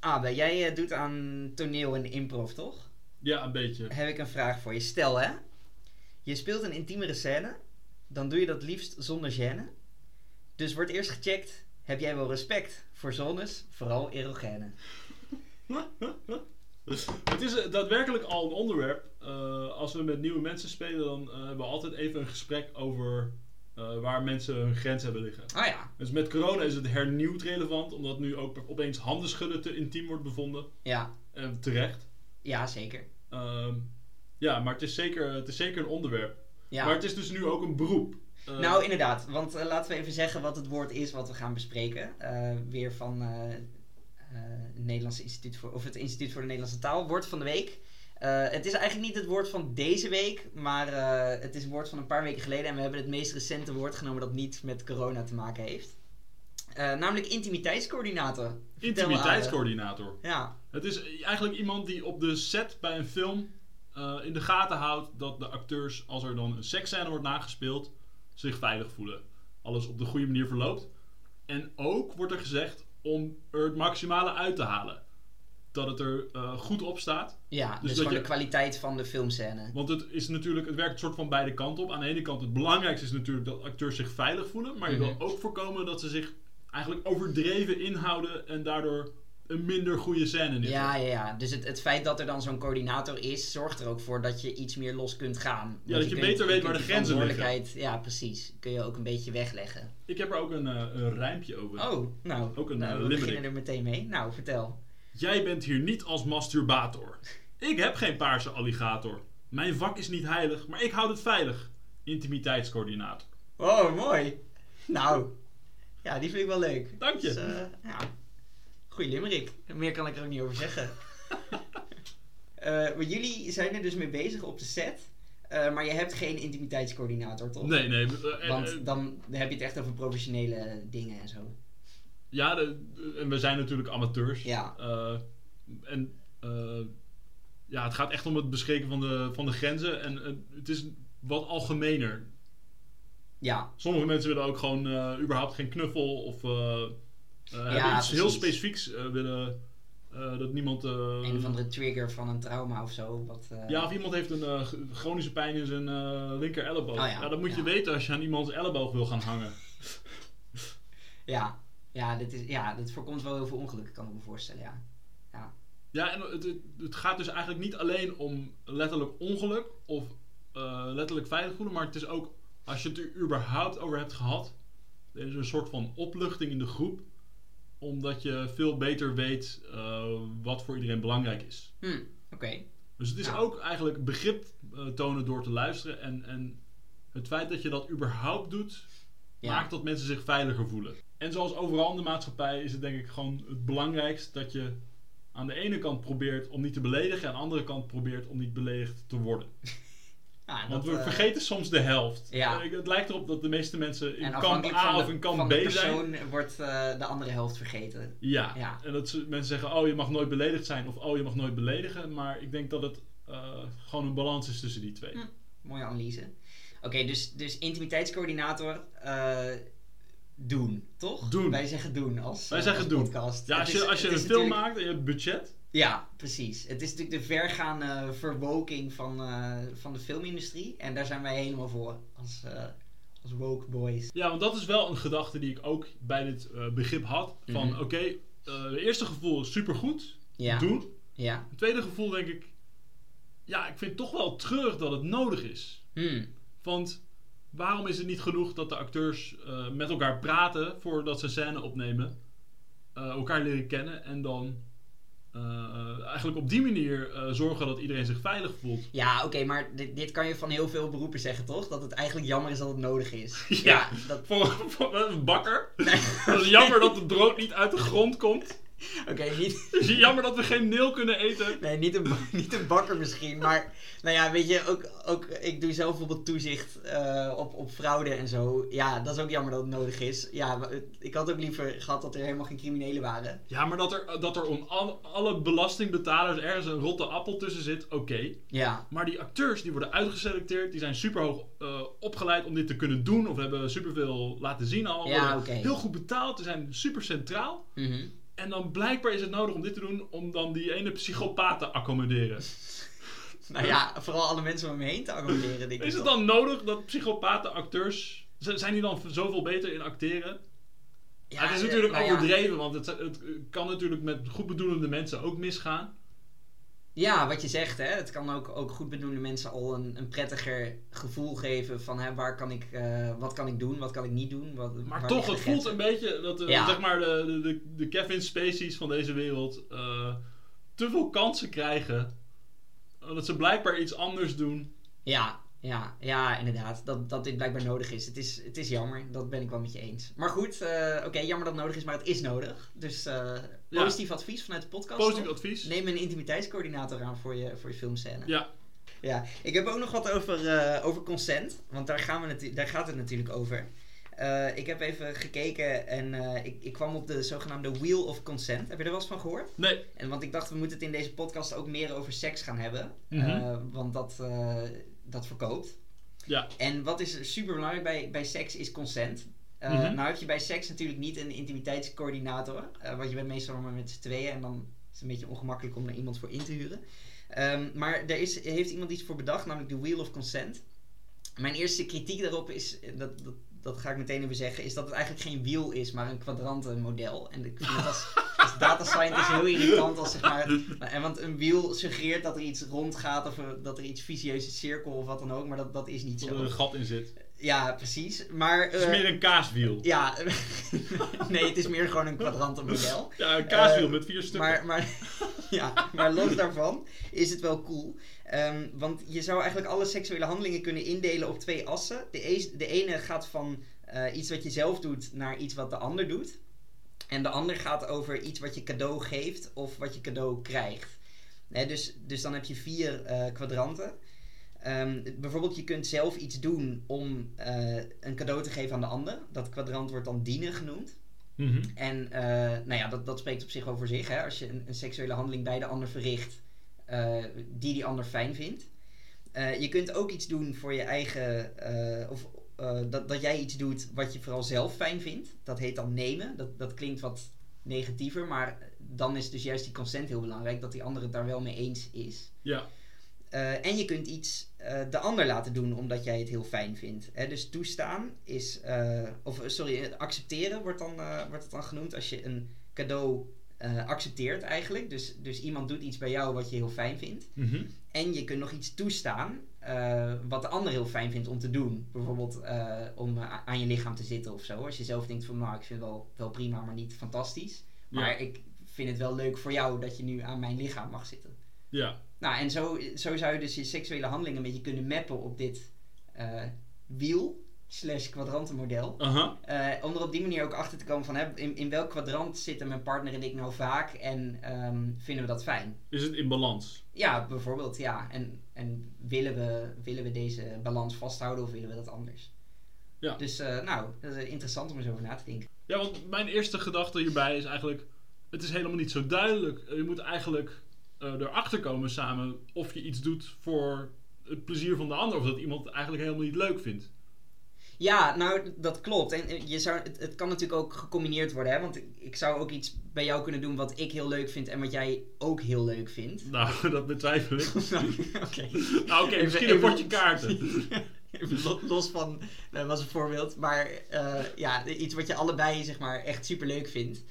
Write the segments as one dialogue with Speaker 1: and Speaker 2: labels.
Speaker 1: Abe, jij eh, doet aan toneel en improv, toch?
Speaker 2: Ja, een beetje.
Speaker 1: Heb ik een vraag voor je. Stel hè, je speelt een intiemere scène, dan doe je dat liefst zonder gêne. Dus wordt eerst gecheckt, heb jij wel respect voor zones, vooral erogene?
Speaker 2: het is eh, daadwerkelijk al een onderwerp. Eh, als we met nieuwe mensen spelen, dan eh, hebben we altijd even een gesprek over eh, waar mensen hun grens hebben liggen.
Speaker 1: Ah ja,
Speaker 2: Dus met corona is het hernieuwd relevant, omdat nu ook opeens handen schudden te intiem wordt bevonden.
Speaker 1: ja,
Speaker 2: En terecht.
Speaker 1: ja zeker.
Speaker 2: Ehm, ja, maar het is, zeker, het is zeker een onderwerp.
Speaker 1: Ja.
Speaker 2: Maar het is dus nu ook een beroep. Eh,
Speaker 1: Nou, inderdaad. Want eh, laten we even zeggen wat het woord is wat we gaan bespreken. Eh, weer van eh, eh, het Nederlandse Instituut voor, of het Instituut voor de Nederlandse Taal. Woord van de week. Eh, het is eigenlijk niet het woord van deze week, maar eh, het is een woord van een paar weken geleden. En we hebben het meest recente woord genomen dat niet met corona te maken heeft. Eh, namelijk intimiteitscoördinaten. Vertel me,
Speaker 2: intimiteitscoördinator.
Speaker 1: Ade. Ja,
Speaker 2: Het is eigenlijk iemand die op de set bij een film eh, in de gaten houdt dat de acteurs, als er dan een seksscène wordt nagespeeld, zich veilig voelen. Alles op de goede manier verloopt. En ook wordt er gezegd om er het maximale uit te halen. Dat het er eh, goed op staat.
Speaker 1: ja dus,
Speaker 2: dat
Speaker 1: gewoon
Speaker 2: je-
Speaker 1: de kwaliteit van de filmscène.
Speaker 2: Want het, is natuurlijk, het werkt soort van beide kanten op. Aan de ene kant, het belangrijkste is natuurlijk dat acteurs zich veilig voelen. Maar je wil
Speaker 1: Mhm.
Speaker 2: ook voorkomen dat ze zich eigenlijk overdreven inhouden en daardoor een minder goede scène neerzetten.
Speaker 1: Ja, ja, ja. Dus het, het feit dat er dan zo'n coördinator is, zorgt er ook voor dat je iets meer los kunt gaan. Want
Speaker 2: dat je beter weet waar de
Speaker 1: die
Speaker 2: grenzen liggen.
Speaker 1: verantwoordelijkheid- Ja, precies. Kun je ook een beetje wegleggen.
Speaker 2: Ik heb er ook een, eh, een rijmpje over.
Speaker 1: Oh, nou.
Speaker 2: Ook een,
Speaker 1: nou,
Speaker 2: eh,
Speaker 1: we
Speaker 2: limerick.
Speaker 1: beginnen er meteen mee. Nou, vertel.
Speaker 2: Jij bent hier niet als masturbator. Ik heb geen paarse alligator. Mijn vak is niet heilig, maar ik houd het veilig. Intimiteitscoördinator.
Speaker 1: Oh, mooi. Nou. Ja, die vind ik wel leuk.
Speaker 2: Dank je.
Speaker 1: Dus, eh, ja. Goeie limerick. Meer kan ik er ook niet over zeggen. Eh, maar jullie zijn er dus mee bezig op de set. eh, maar je hebt geen intimiteitscoördinator, toch?
Speaker 2: Nee, nee. eh, eh, eh,
Speaker 1: Want dan heb je het echt over professionele dingen en zo.
Speaker 2: Ja, de- eh, en we zijn natuurlijk amateurs.
Speaker 1: Ja.
Speaker 2: Eh, en eh, ja, het gaat echt om het bespreken van de, van de grenzen. En eh, het is wat algemener.
Speaker 1: Ja,
Speaker 2: Sommige mensen willen ook gewoon eh, überhaupt geen knuffel. Of eh eh, hebben iets heel
Speaker 1: precies.
Speaker 2: specifieks eh, willen. eh, dat niemand. eh,
Speaker 1: een of andere trigger van een trauma of zo. Wat, eh,
Speaker 2: Ja, of iemand heeft een eh, g- chronische pijn in zijn eh, linker elleboog.
Speaker 1: Oh ja,
Speaker 2: ja. dat moet je
Speaker 1: ja.
Speaker 2: weten als je aan iemands elleboog wil gaan hangen.
Speaker 1: ja, ja, dit is, ja, dat voorkomt wel heel veel ongelukken, kan ik me voorstellen, ja.
Speaker 2: Ja, en het, het, het gaat dus eigenlijk niet alleen om letterlijk ongeluk of eh, letterlijk veilig voelen, maar het is ook als je het er überhaupt over hebt gehad, er is een soort van opluchting in de groep, omdat je veel beter weet eh, wat voor iedereen belangrijk is.
Speaker 1: Hm, oké.
Speaker 2: Dus het is
Speaker 1: Ja.
Speaker 2: ook eigenlijk begrip eh, tonen door te luisteren en, en het feit dat je dat überhaupt doet,
Speaker 1: Ja.
Speaker 2: maakt dat mensen zich veiliger voelen. En zoals overal in de maatschappij is het denk ik gewoon het belangrijkst dat je aan de ene kant probeert om niet te beledigen en aan de andere kant probeert om niet beledigd te worden.
Speaker 1: Ja,
Speaker 2: Want
Speaker 1: dat,
Speaker 2: we
Speaker 1: eh,
Speaker 2: vergeten soms de helft.
Speaker 1: Ja.
Speaker 2: Eh, Het lijkt erop dat de meeste mensen in
Speaker 1: en
Speaker 2: kamp
Speaker 1: afhankelijk van
Speaker 2: A
Speaker 1: de,
Speaker 2: of in kamp
Speaker 1: van
Speaker 2: B
Speaker 1: de
Speaker 2: zijn.
Speaker 1: persoon wordt eh, de andere helft vergeten.
Speaker 2: Ja.
Speaker 1: Ja.
Speaker 2: en dat ze- mensen zeggen, oh je mag nooit beledigd zijn of oh je mag nooit beledigen. Maar ik denk dat het eh, gewoon een balans is tussen die twee.
Speaker 1: Hm. Mooie analyse. Oké, dus, dus intimiteitscoördinator eh, doen, toch?
Speaker 2: Doen.
Speaker 1: Wij zeggen doen als,
Speaker 2: Wij
Speaker 1: eh,
Speaker 2: zeggen
Speaker 1: als
Speaker 2: doen.
Speaker 1: podcast.
Speaker 2: Ja,
Speaker 1: Het
Speaker 2: als je,
Speaker 1: is-
Speaker 2: als je
Speaker 1: het
Speaker 2: een
Speaker 1: is
Speaker 2: film
Speaker 1: natuurlijk-
Speaker 2: maakt en je hebt budget,
Speaker 1: Ja, precies. Het is natuurlijk de vergaande verwoking van, eh, van de filmindustrie. En daar zijn wij helemaal voor als, eh als woke boys.
Speaker 2: Ja, want dat is wel een gedachte die ik ook bij dit eh, begrip had. Van
Speaker 1: Mhm.
Speaker 2: oké, eh, het eerste gevoel is supergoed,
Speaker 1: Ja.
Speaker 2: doen.
Speaker 1: Ja.
Speaker 2: Het tweede gevoel denk ik, ja, ik vind toch wel treurig dat het nodig is.
Speaker 1: Hmm.
Speaker 2: Want waarom is het niet genoeg dat de acteurs eh, met elkaar praten voordat ze scène opnemen? eh, elkaar leren kennen en dan eh, eigenlijk op die manier eh, zorgen dat iedereen zich veilig voelt.
Speaker 1: Ja, oké, maar dit, dit kan je van heel veel beroepen zeggen, toch? Dat het eigenlijk jammer is dat het nodig is.
Speaker 2: Ja.
Speaker 1: dat...
Speaker 2: Voor, voor een bakker.
Speaker 1: Nee.
Speaker 2: Het is jammer dat het brood niet uit de grond komt.
Speaker 1: Oké, niet,
Speaker 2: Het is jammer dat we geen neel kunnen eten.
Speaker 1: nee, niet, een, ba- niet een bakker misschien, maar... Nou ja, weet je, ook, ook ik doe zelf bijvoorbeeld toezicht eh, op, op fraude en zo. Ja, dat is ook jammer dat het nodig is. Ja, maar het- ik had ook liever gehad dat er helemaal geen criminelen waren.
Speaker 2: Ja, maar dat er, dat er om al- alle belastingbetalers ergens een rotte appel tussen zit, oké.
Speaker 1: Ja,
Speaker 2: Maar die acteurs die worden uitgeselecteerd, die zijn superhoog eh, opgeleid om dit te kunnen doen. Of hebben superveel laten zien al.
Speaker 1: Ja,
Speaker 2: worden
Speaker 1: oké.
Speaker 2: Heel goed betaald, ze zijn super centraal.
Speaker 1: Mhm.
Speaker 2: En dan blijkbaar is het nodig om dit te doen om dan die ene psychopaat te accommoderen.
Speaker 1: Nou ja, vooral alle mensen om me heen te accommoderen, denk ik.
Speaker 2: Is het
Speaker 1: toch.
Speaker 2: dan nodig dat psychopaten acteurs... z- Zijn die dan v- zoveel beter in acteren?
Speaker 1: Ja,
Speaker 2: het is
Speaker 1: eh,
Speaker 2: natuurlijk
Speaker 1: nou ja.
Speaker 2: overdreven, want het, het kan natuurlijk met goedbedoelende mensen ook misgaan.
Speaker 1: Ja, wat je zegt, hè. Het kan ook, ook goedbedoelende mensen al een, een prettiger gevoel geven van hè, waar kan ik, eh, wat kan ik doen, wat kan ik niet doen. Wat,
Speaker 2: Maar
Speaker 1: waar
Speaker 2: toch,
Speaker 1: liggen
Speaker 2: het
Speaker 1: de
Speaker 2: voelt
Speaker 1: grenzen?
Speaker 2: een beetje dat eh,
Speaker 1: Ja.
Speaker 2: zeg maar de, de, de, de Kevin Spacey's van deze wereld eh, te veel kansen krijgen. Omdat ze blijkbaar iets anders doen.
Speaker 1: Ja, ja, ja, inderdaad. Dat, dat dit blijkbaar nodig is. Het, is. het is jammer, dat ben ik wel met je eens. Maar goed, eh, oké, jammer dat het nodig is, maar het is nodig. Dus eh,
Speaker 2: Ja.
Speaker 1: positief advies vanuit de podcast.
Speaker 2: Positief
Speaker 1: toch?
Speaker 2: advies.
Speaker 1: Neem een intimiteitscoördinator aan voor je, voor je filmscène.
Speaker 2: Ja,
Speaker 1: Ja, ik heb ook nog wat over, eh, over consent. Want daar, gaan we natu- daar gaat het natuurlijk over. Eh, ik heb even gekeken en eh, ik, ik kwam op de zogenaamde Wheel of Consent. Heb je er wel eens van gehoord?
Speaker 2: nee.
Speaker 1: En want ik dacht, we moeten het in deze podcast ook meer over seks gaan hebben.
Speaker 2: Mhm.
Speaker 1: Eh, want dat, eh, dat verkoopt.
Speaker 2: Ja.
Speaker 1: En wat is super belangrijk bij, bij seks is consent. Eh,
Speaker 2: Mhm.
Speaker 1: Nou heb je bij seks natuurlijk niet een intimiteitscoördinator. eh, want je bent meestal maar met z'n tweeën en dan is het een beetje ongemakkelijk om daar iemand voor in te huren. Ehm, maar er is, heeft iemand iets voor bedacht, namelijk de Wheel of Consent. Mijn eerste kritiek daarop is, eh, dat, dat, dat ga ik meteen even zeggen, is dat het eigenlijk geen wiel is, maar een kwadrantenmodel. En ik vind het als, als data scientist heel irritant als zeg maar. En want een wiel suggereert dat er iets rond gaat of eh, dat er iets vicieus is, cirkel of wat dan ook, maar dat, dat is niet
Speaker 2: Dat er
Speaker 1: zo.
Speaker 2: een gat in zit.
Speaker 1: Eh, Ja, precies. Maar.
Speaker 2: Het is
Speaker 1: eh,
Speaker 2: meer een kaaswiel.
Speaker 1: Ja, nee, het is meer gewoon een kwadrantenmodel.
Speaker 2: Ja, een kaaswiel
Speaker 1: Eh,
Speaker 2: met vier stukken.
Speaker 1: Maar, maar, ja, maar los daarvan is het wel cool. Ehm, want je zou eigenlijk alle seksuele handelingen kunnen indelen op twee assen. De, ees- de ene gaat van eh, iets wat je zelf doet naar iets wat de ander doet. En de ander gaat over iets wat je cadeau geeft of wat je cadeau krijgt. Hè, dus, dus dan heb je vier eh, kwadranten. Ehm, bijvoorbeeld, je kunt zelf iets doen om eh, een cadeau te geven aan de ander. Dat kwadrant wordt dan dienen genoemd.
Speaker 2: Mhm.
Speaker 1: En eh, nou ja, dat, dat spreekt op zich wel voor zich. Hè? Als je een, een seksuele handeling bij de ander verricht eh, die die ander fijn vindt. Eh, je kunt ook iets doen voor je eigen. eh, of eh, dat, dat jij iets doet wat je vooral zelf fijn vindt. Dat heet dan nemen. Dat, dat klinkt wat negatiever, maar dan is dus juist die consent heel belangrijk. Dat die ander het daar wel mee eens is.
Speaker 2: Ja.
Speaker 1: Eh, en je kunt iets eh, de ander laten doen omdat jij het heel fijn vindt. Hè? Dus toestaan is, eh, of eh, sorry, eh, accepteren wordt, dan, eh, wordt het dan genoemd als je een cadeau eh, accepteert eigenlijk. Dus, dus iemand doet iets bij jou wat je heel fijn vindt.
Speaker 2: Mhm.
Speaker 1: En je kunt nog iets toestaan eh, wat de ander heel fijn vindt om te doen. Bijvoorbeeld eh, om eh, a- aan je lichaam te zitten of zo. Als je zelf denkt van nou, ik vind het wel, wel prima, maar niet fantastisch.
Speaker 2: Ja.
Speaker 1: Maar ik vind het wel leuk voor jou dat je nu aan mijn lichaam mag zitten.
Speaker 2: Ja.
Speaker 1: Nou, en zo, zo zou je dus je seksuele handelingen een beetje kunnen mappen op dit eh, wiel slash kwadrantenmodel.
Speaker 2: Aha.
Speaker 1: Eh, om er op die manier ook achter te komen van hè, in, in welk kwadrant zitten mijn partner en ik nou vaak en ehm, vinden we dat fijn?
Speaker 2: Is het in balans?
Speaker 1: Ja, bijvoorbeeld, ja. En, en willen, we, willen we deze balans vasthouden of willen we dat anders?
Speaker 2: Ja.
Speaker 1: Dus eh, nou, dat is interessant om eens over na te denken.
Speaker 2: Ja, want mijn eerste gedachte hierbij is eigenlijk... Het is helemaal niet zo duidelijk. Je moet eigenlijk eh, erachter komen samen of je iets doet voor het plezier van de ander. Of dat iemand het eigenlijk helemaal niet leuk vindt.
Speaker 1: Ja, nou, dat klopt. En eh, je zou, het, het kan natuurlijk ook gecombineerd worden, hè? Want ik, ik zou ook iets bij jou kunnen doen wat ik heel leuk vind en wat jij ook heel leuk vindt.
Speaker 2: Nou, dat betwijfel ik.
Speaker 1: Nou, Oké.
Speaker 2: Nou oké,
Speaker 1: Even-
Speaker 2: misschien een
Speaker 1: even-
Speaker 2: potje kaarten.
Speaker 1: Even lo- Los van, eh, dat was een voorbeeld, maar eh, ja, iets wat je allebei zeg maar echt super leuk vindt.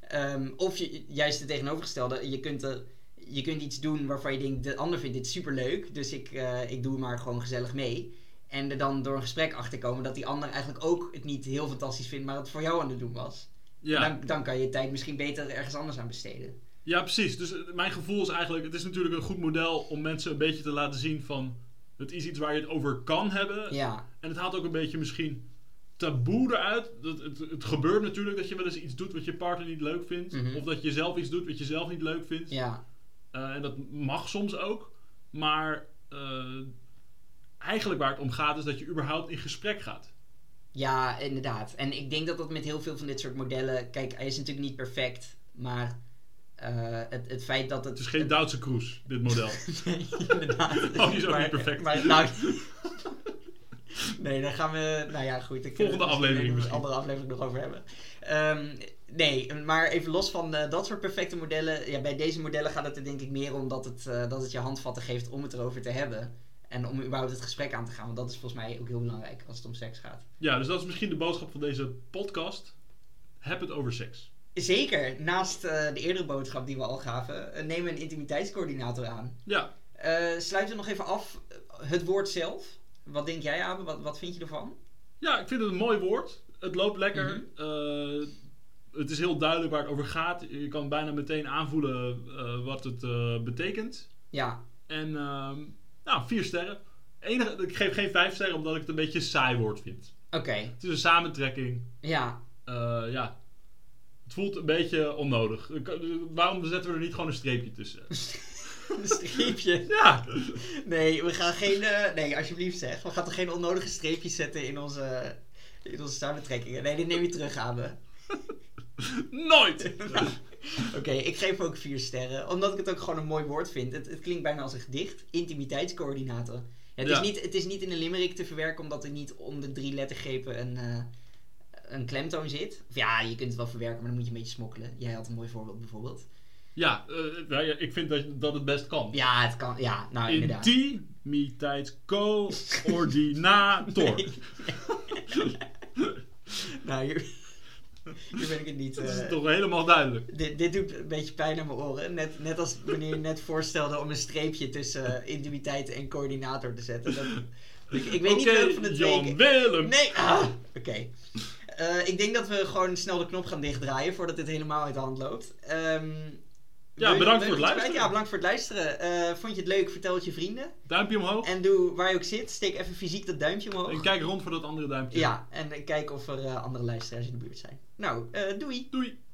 Speaker 1: Ehm, of je, juist het tegenovergestelde, je kunt, er, je kunt iets doen waarvan je denkt, de ander vindt dit super leuk, dus ik, eh, ik doe maar gewoon gezellig mee. En er dan door een gesprek achter komen dat die ander eigenlijk ook het niet heel fantastisch vindt, maar het voor jou aan het doen was.
Speaker 2: Ja,
Speaker 1: Dan, dan kan je je tijd misschien beter ergens anders aan besteden.
Speaker 2: ja precies. Dus eh, mijn gevoel is eigenlijk... Het is natuurlijk een goed model om mensen een beetje te laten zien van... Het is iets waar je het over kan hebben.
Speaker 1: Ja,
Speaker 2: En het haalt ook een beetje misschien taboe eruit. Dat, het, het gebeurt natuurlijk dat je wel eens iets doet wat je partner niet leuk vindt.
Speaker 1: Mhm.
Speaker 2: Of dat je zelf iets doet wat je zelf niet leuk vindt.
Speaker 1: ja.
Speaker 2: Eh, en dat mag soms ook. Maar eh, eigenlijk waar het om gaat is dat je überhaupt in gesprek gaat.
Speaker 1: Ja, inderdaad. En ik denk dat dat met heel veel van dit soort modellen. Kijk, hij is natuurlijk niet perfect, maar eh, het, het feit dat het.
Speaker 2: Het is geen Duitse cruise, dit model.
Speaker 1: Nee, inderdaad.
Speaker 2: Oh, die is ook niet perfect.
Speaker 1: Maar, nou, nee, daar gaan we. Nou ja, goed. daar kunnen we het
Speaker 2: aflevering
Speaker 1: een
Speaker 2: misschien.
Speaker 1: andere aflevering nog over hebben. Ehm, nee, maar even los van eh, dat soort perfecte modellen. Ja, bij deze modellen gaat het er denk ik meer om dat het, eh, dat het je handvatten geeft om het erover te hebben. En om überhaupt het gesprek aan te gaan. Want dat is volgens mij ook heel belangrijk als het om seks gaat.
Speaker 2: Ja, dus dat is misschien de boodschap van deze podcast. Heb het over seks.
Speaker 1: Zeker, naast eh, de eerdere boodschap die we al gaven, eh, neem een intimiteitscoördinator aan.
Speaker 2: Ja,
Speaker 1: Eh, sluiten we nog even af eh, het woord zelf. Wat denk jij, Abe? Wat, wat vind je ervan?
Speaker 2: ja ik vind het een mooi woord. Het loopt lekker. Eh, het is heel duidelijk waar het over gaat. Je kan bijna meteen aanvoelen eh, wat het eh, betekent.
Speaker 1: Ja,
Speaker 2: En ehm, nou, vier sterren. Enige, ik geef geen vijf sterren omdat ik het een beetje een saai woord vind.
Speaker 1: oké.
Speaker 2: Het is een samentrekking.
Speaker 1: Ja,
Speaker 2: Eh, ja. Het voelt een beetje onnodig. Ik- Waarom zetten we er niet gewoon een streepje tussen?
Speaker 1: een streepje.
Speaker 2: Ja,
Speaker 1: Nee, we gaan geen... eh, nee, alsjeblieft zeg. We gaan toch geen onnodige streepjes zetten in onze, in onze samentrekkingen. Nee, dit neem je terug, Abe.
Speaker 2: nooit!
Speaker 1: Nou, Oké, ik geef ook vier sterren. Omdat ik het ook gewoon een mooi woord vind. Het, het klinkt bijna als een gedicht. Intimiteitscoördinator. Ja, het,
Speaker 2: Ja.
Speaker 1: Is niet, het is niet in een limerick te verwerken omdat er niet om de drie lettergrepen een, eh, een klemtoon zit. Of ja, je kunt het wel verwerken, maar dan moet je een beetje smokkelen. Jij had een mooi voorbeeld bijvoorbeeld.
Speaker 2: Ja, eh, nou ja, ik vind dat, dat het best kan.
Speaker 1: Ja, het kan. Ja, nou inderdaad.
Speaker 2: Intimiteitscoördinator.
Speaker 1: Nee. nou, hier, hier ben ik het niet.
Speaker 2: Dat is
Speaker 1: eh,
Speaker 2: toch helemaal duidelijk.
Speaker 1: Dit, dit doet een beetje pijn aan mijn oren. Net, net als wanneer je net voorstelde om een streepje tussen eh, intimiteit en coördinator te zetten. Dat, ik, ik weet niet
Speaker 2: Oké,
Speaker 1: welke van de twee.
Speaker 2: Jan
Speaker 1: ik-
Speaker 2: Willem.
Speaker 1: Nee! Ah, Oké. Eh, ik denk dat we gewoon snel de knop gaan dichtdraaien voordat dit helemaal uit de hand loopt. Ehm, wil je-
Speaker 2: bedankt
Speaker 1: wil je nog
Speaker 2: voor het
Speaker 1: iets
Speaker 2: luisteren.
Speaker 1: kwijt? Ja, bedankt voor het luisteren. Eh, vond je het leuk? Vertel het je vrienden.
Speaker 2: Duimpje omhoog. En,
Speaker 1: En doe waar je ook zit, steek even fysiek dat duimpje omhoog.
Speaker 2: kijk rond voor dat andere duimpje.
Speaker 1: Ja, en eh, kijk of er eh, andere luisteraars in de buurt zijn. Nou, eh, doei!
Speaker 2: Doei.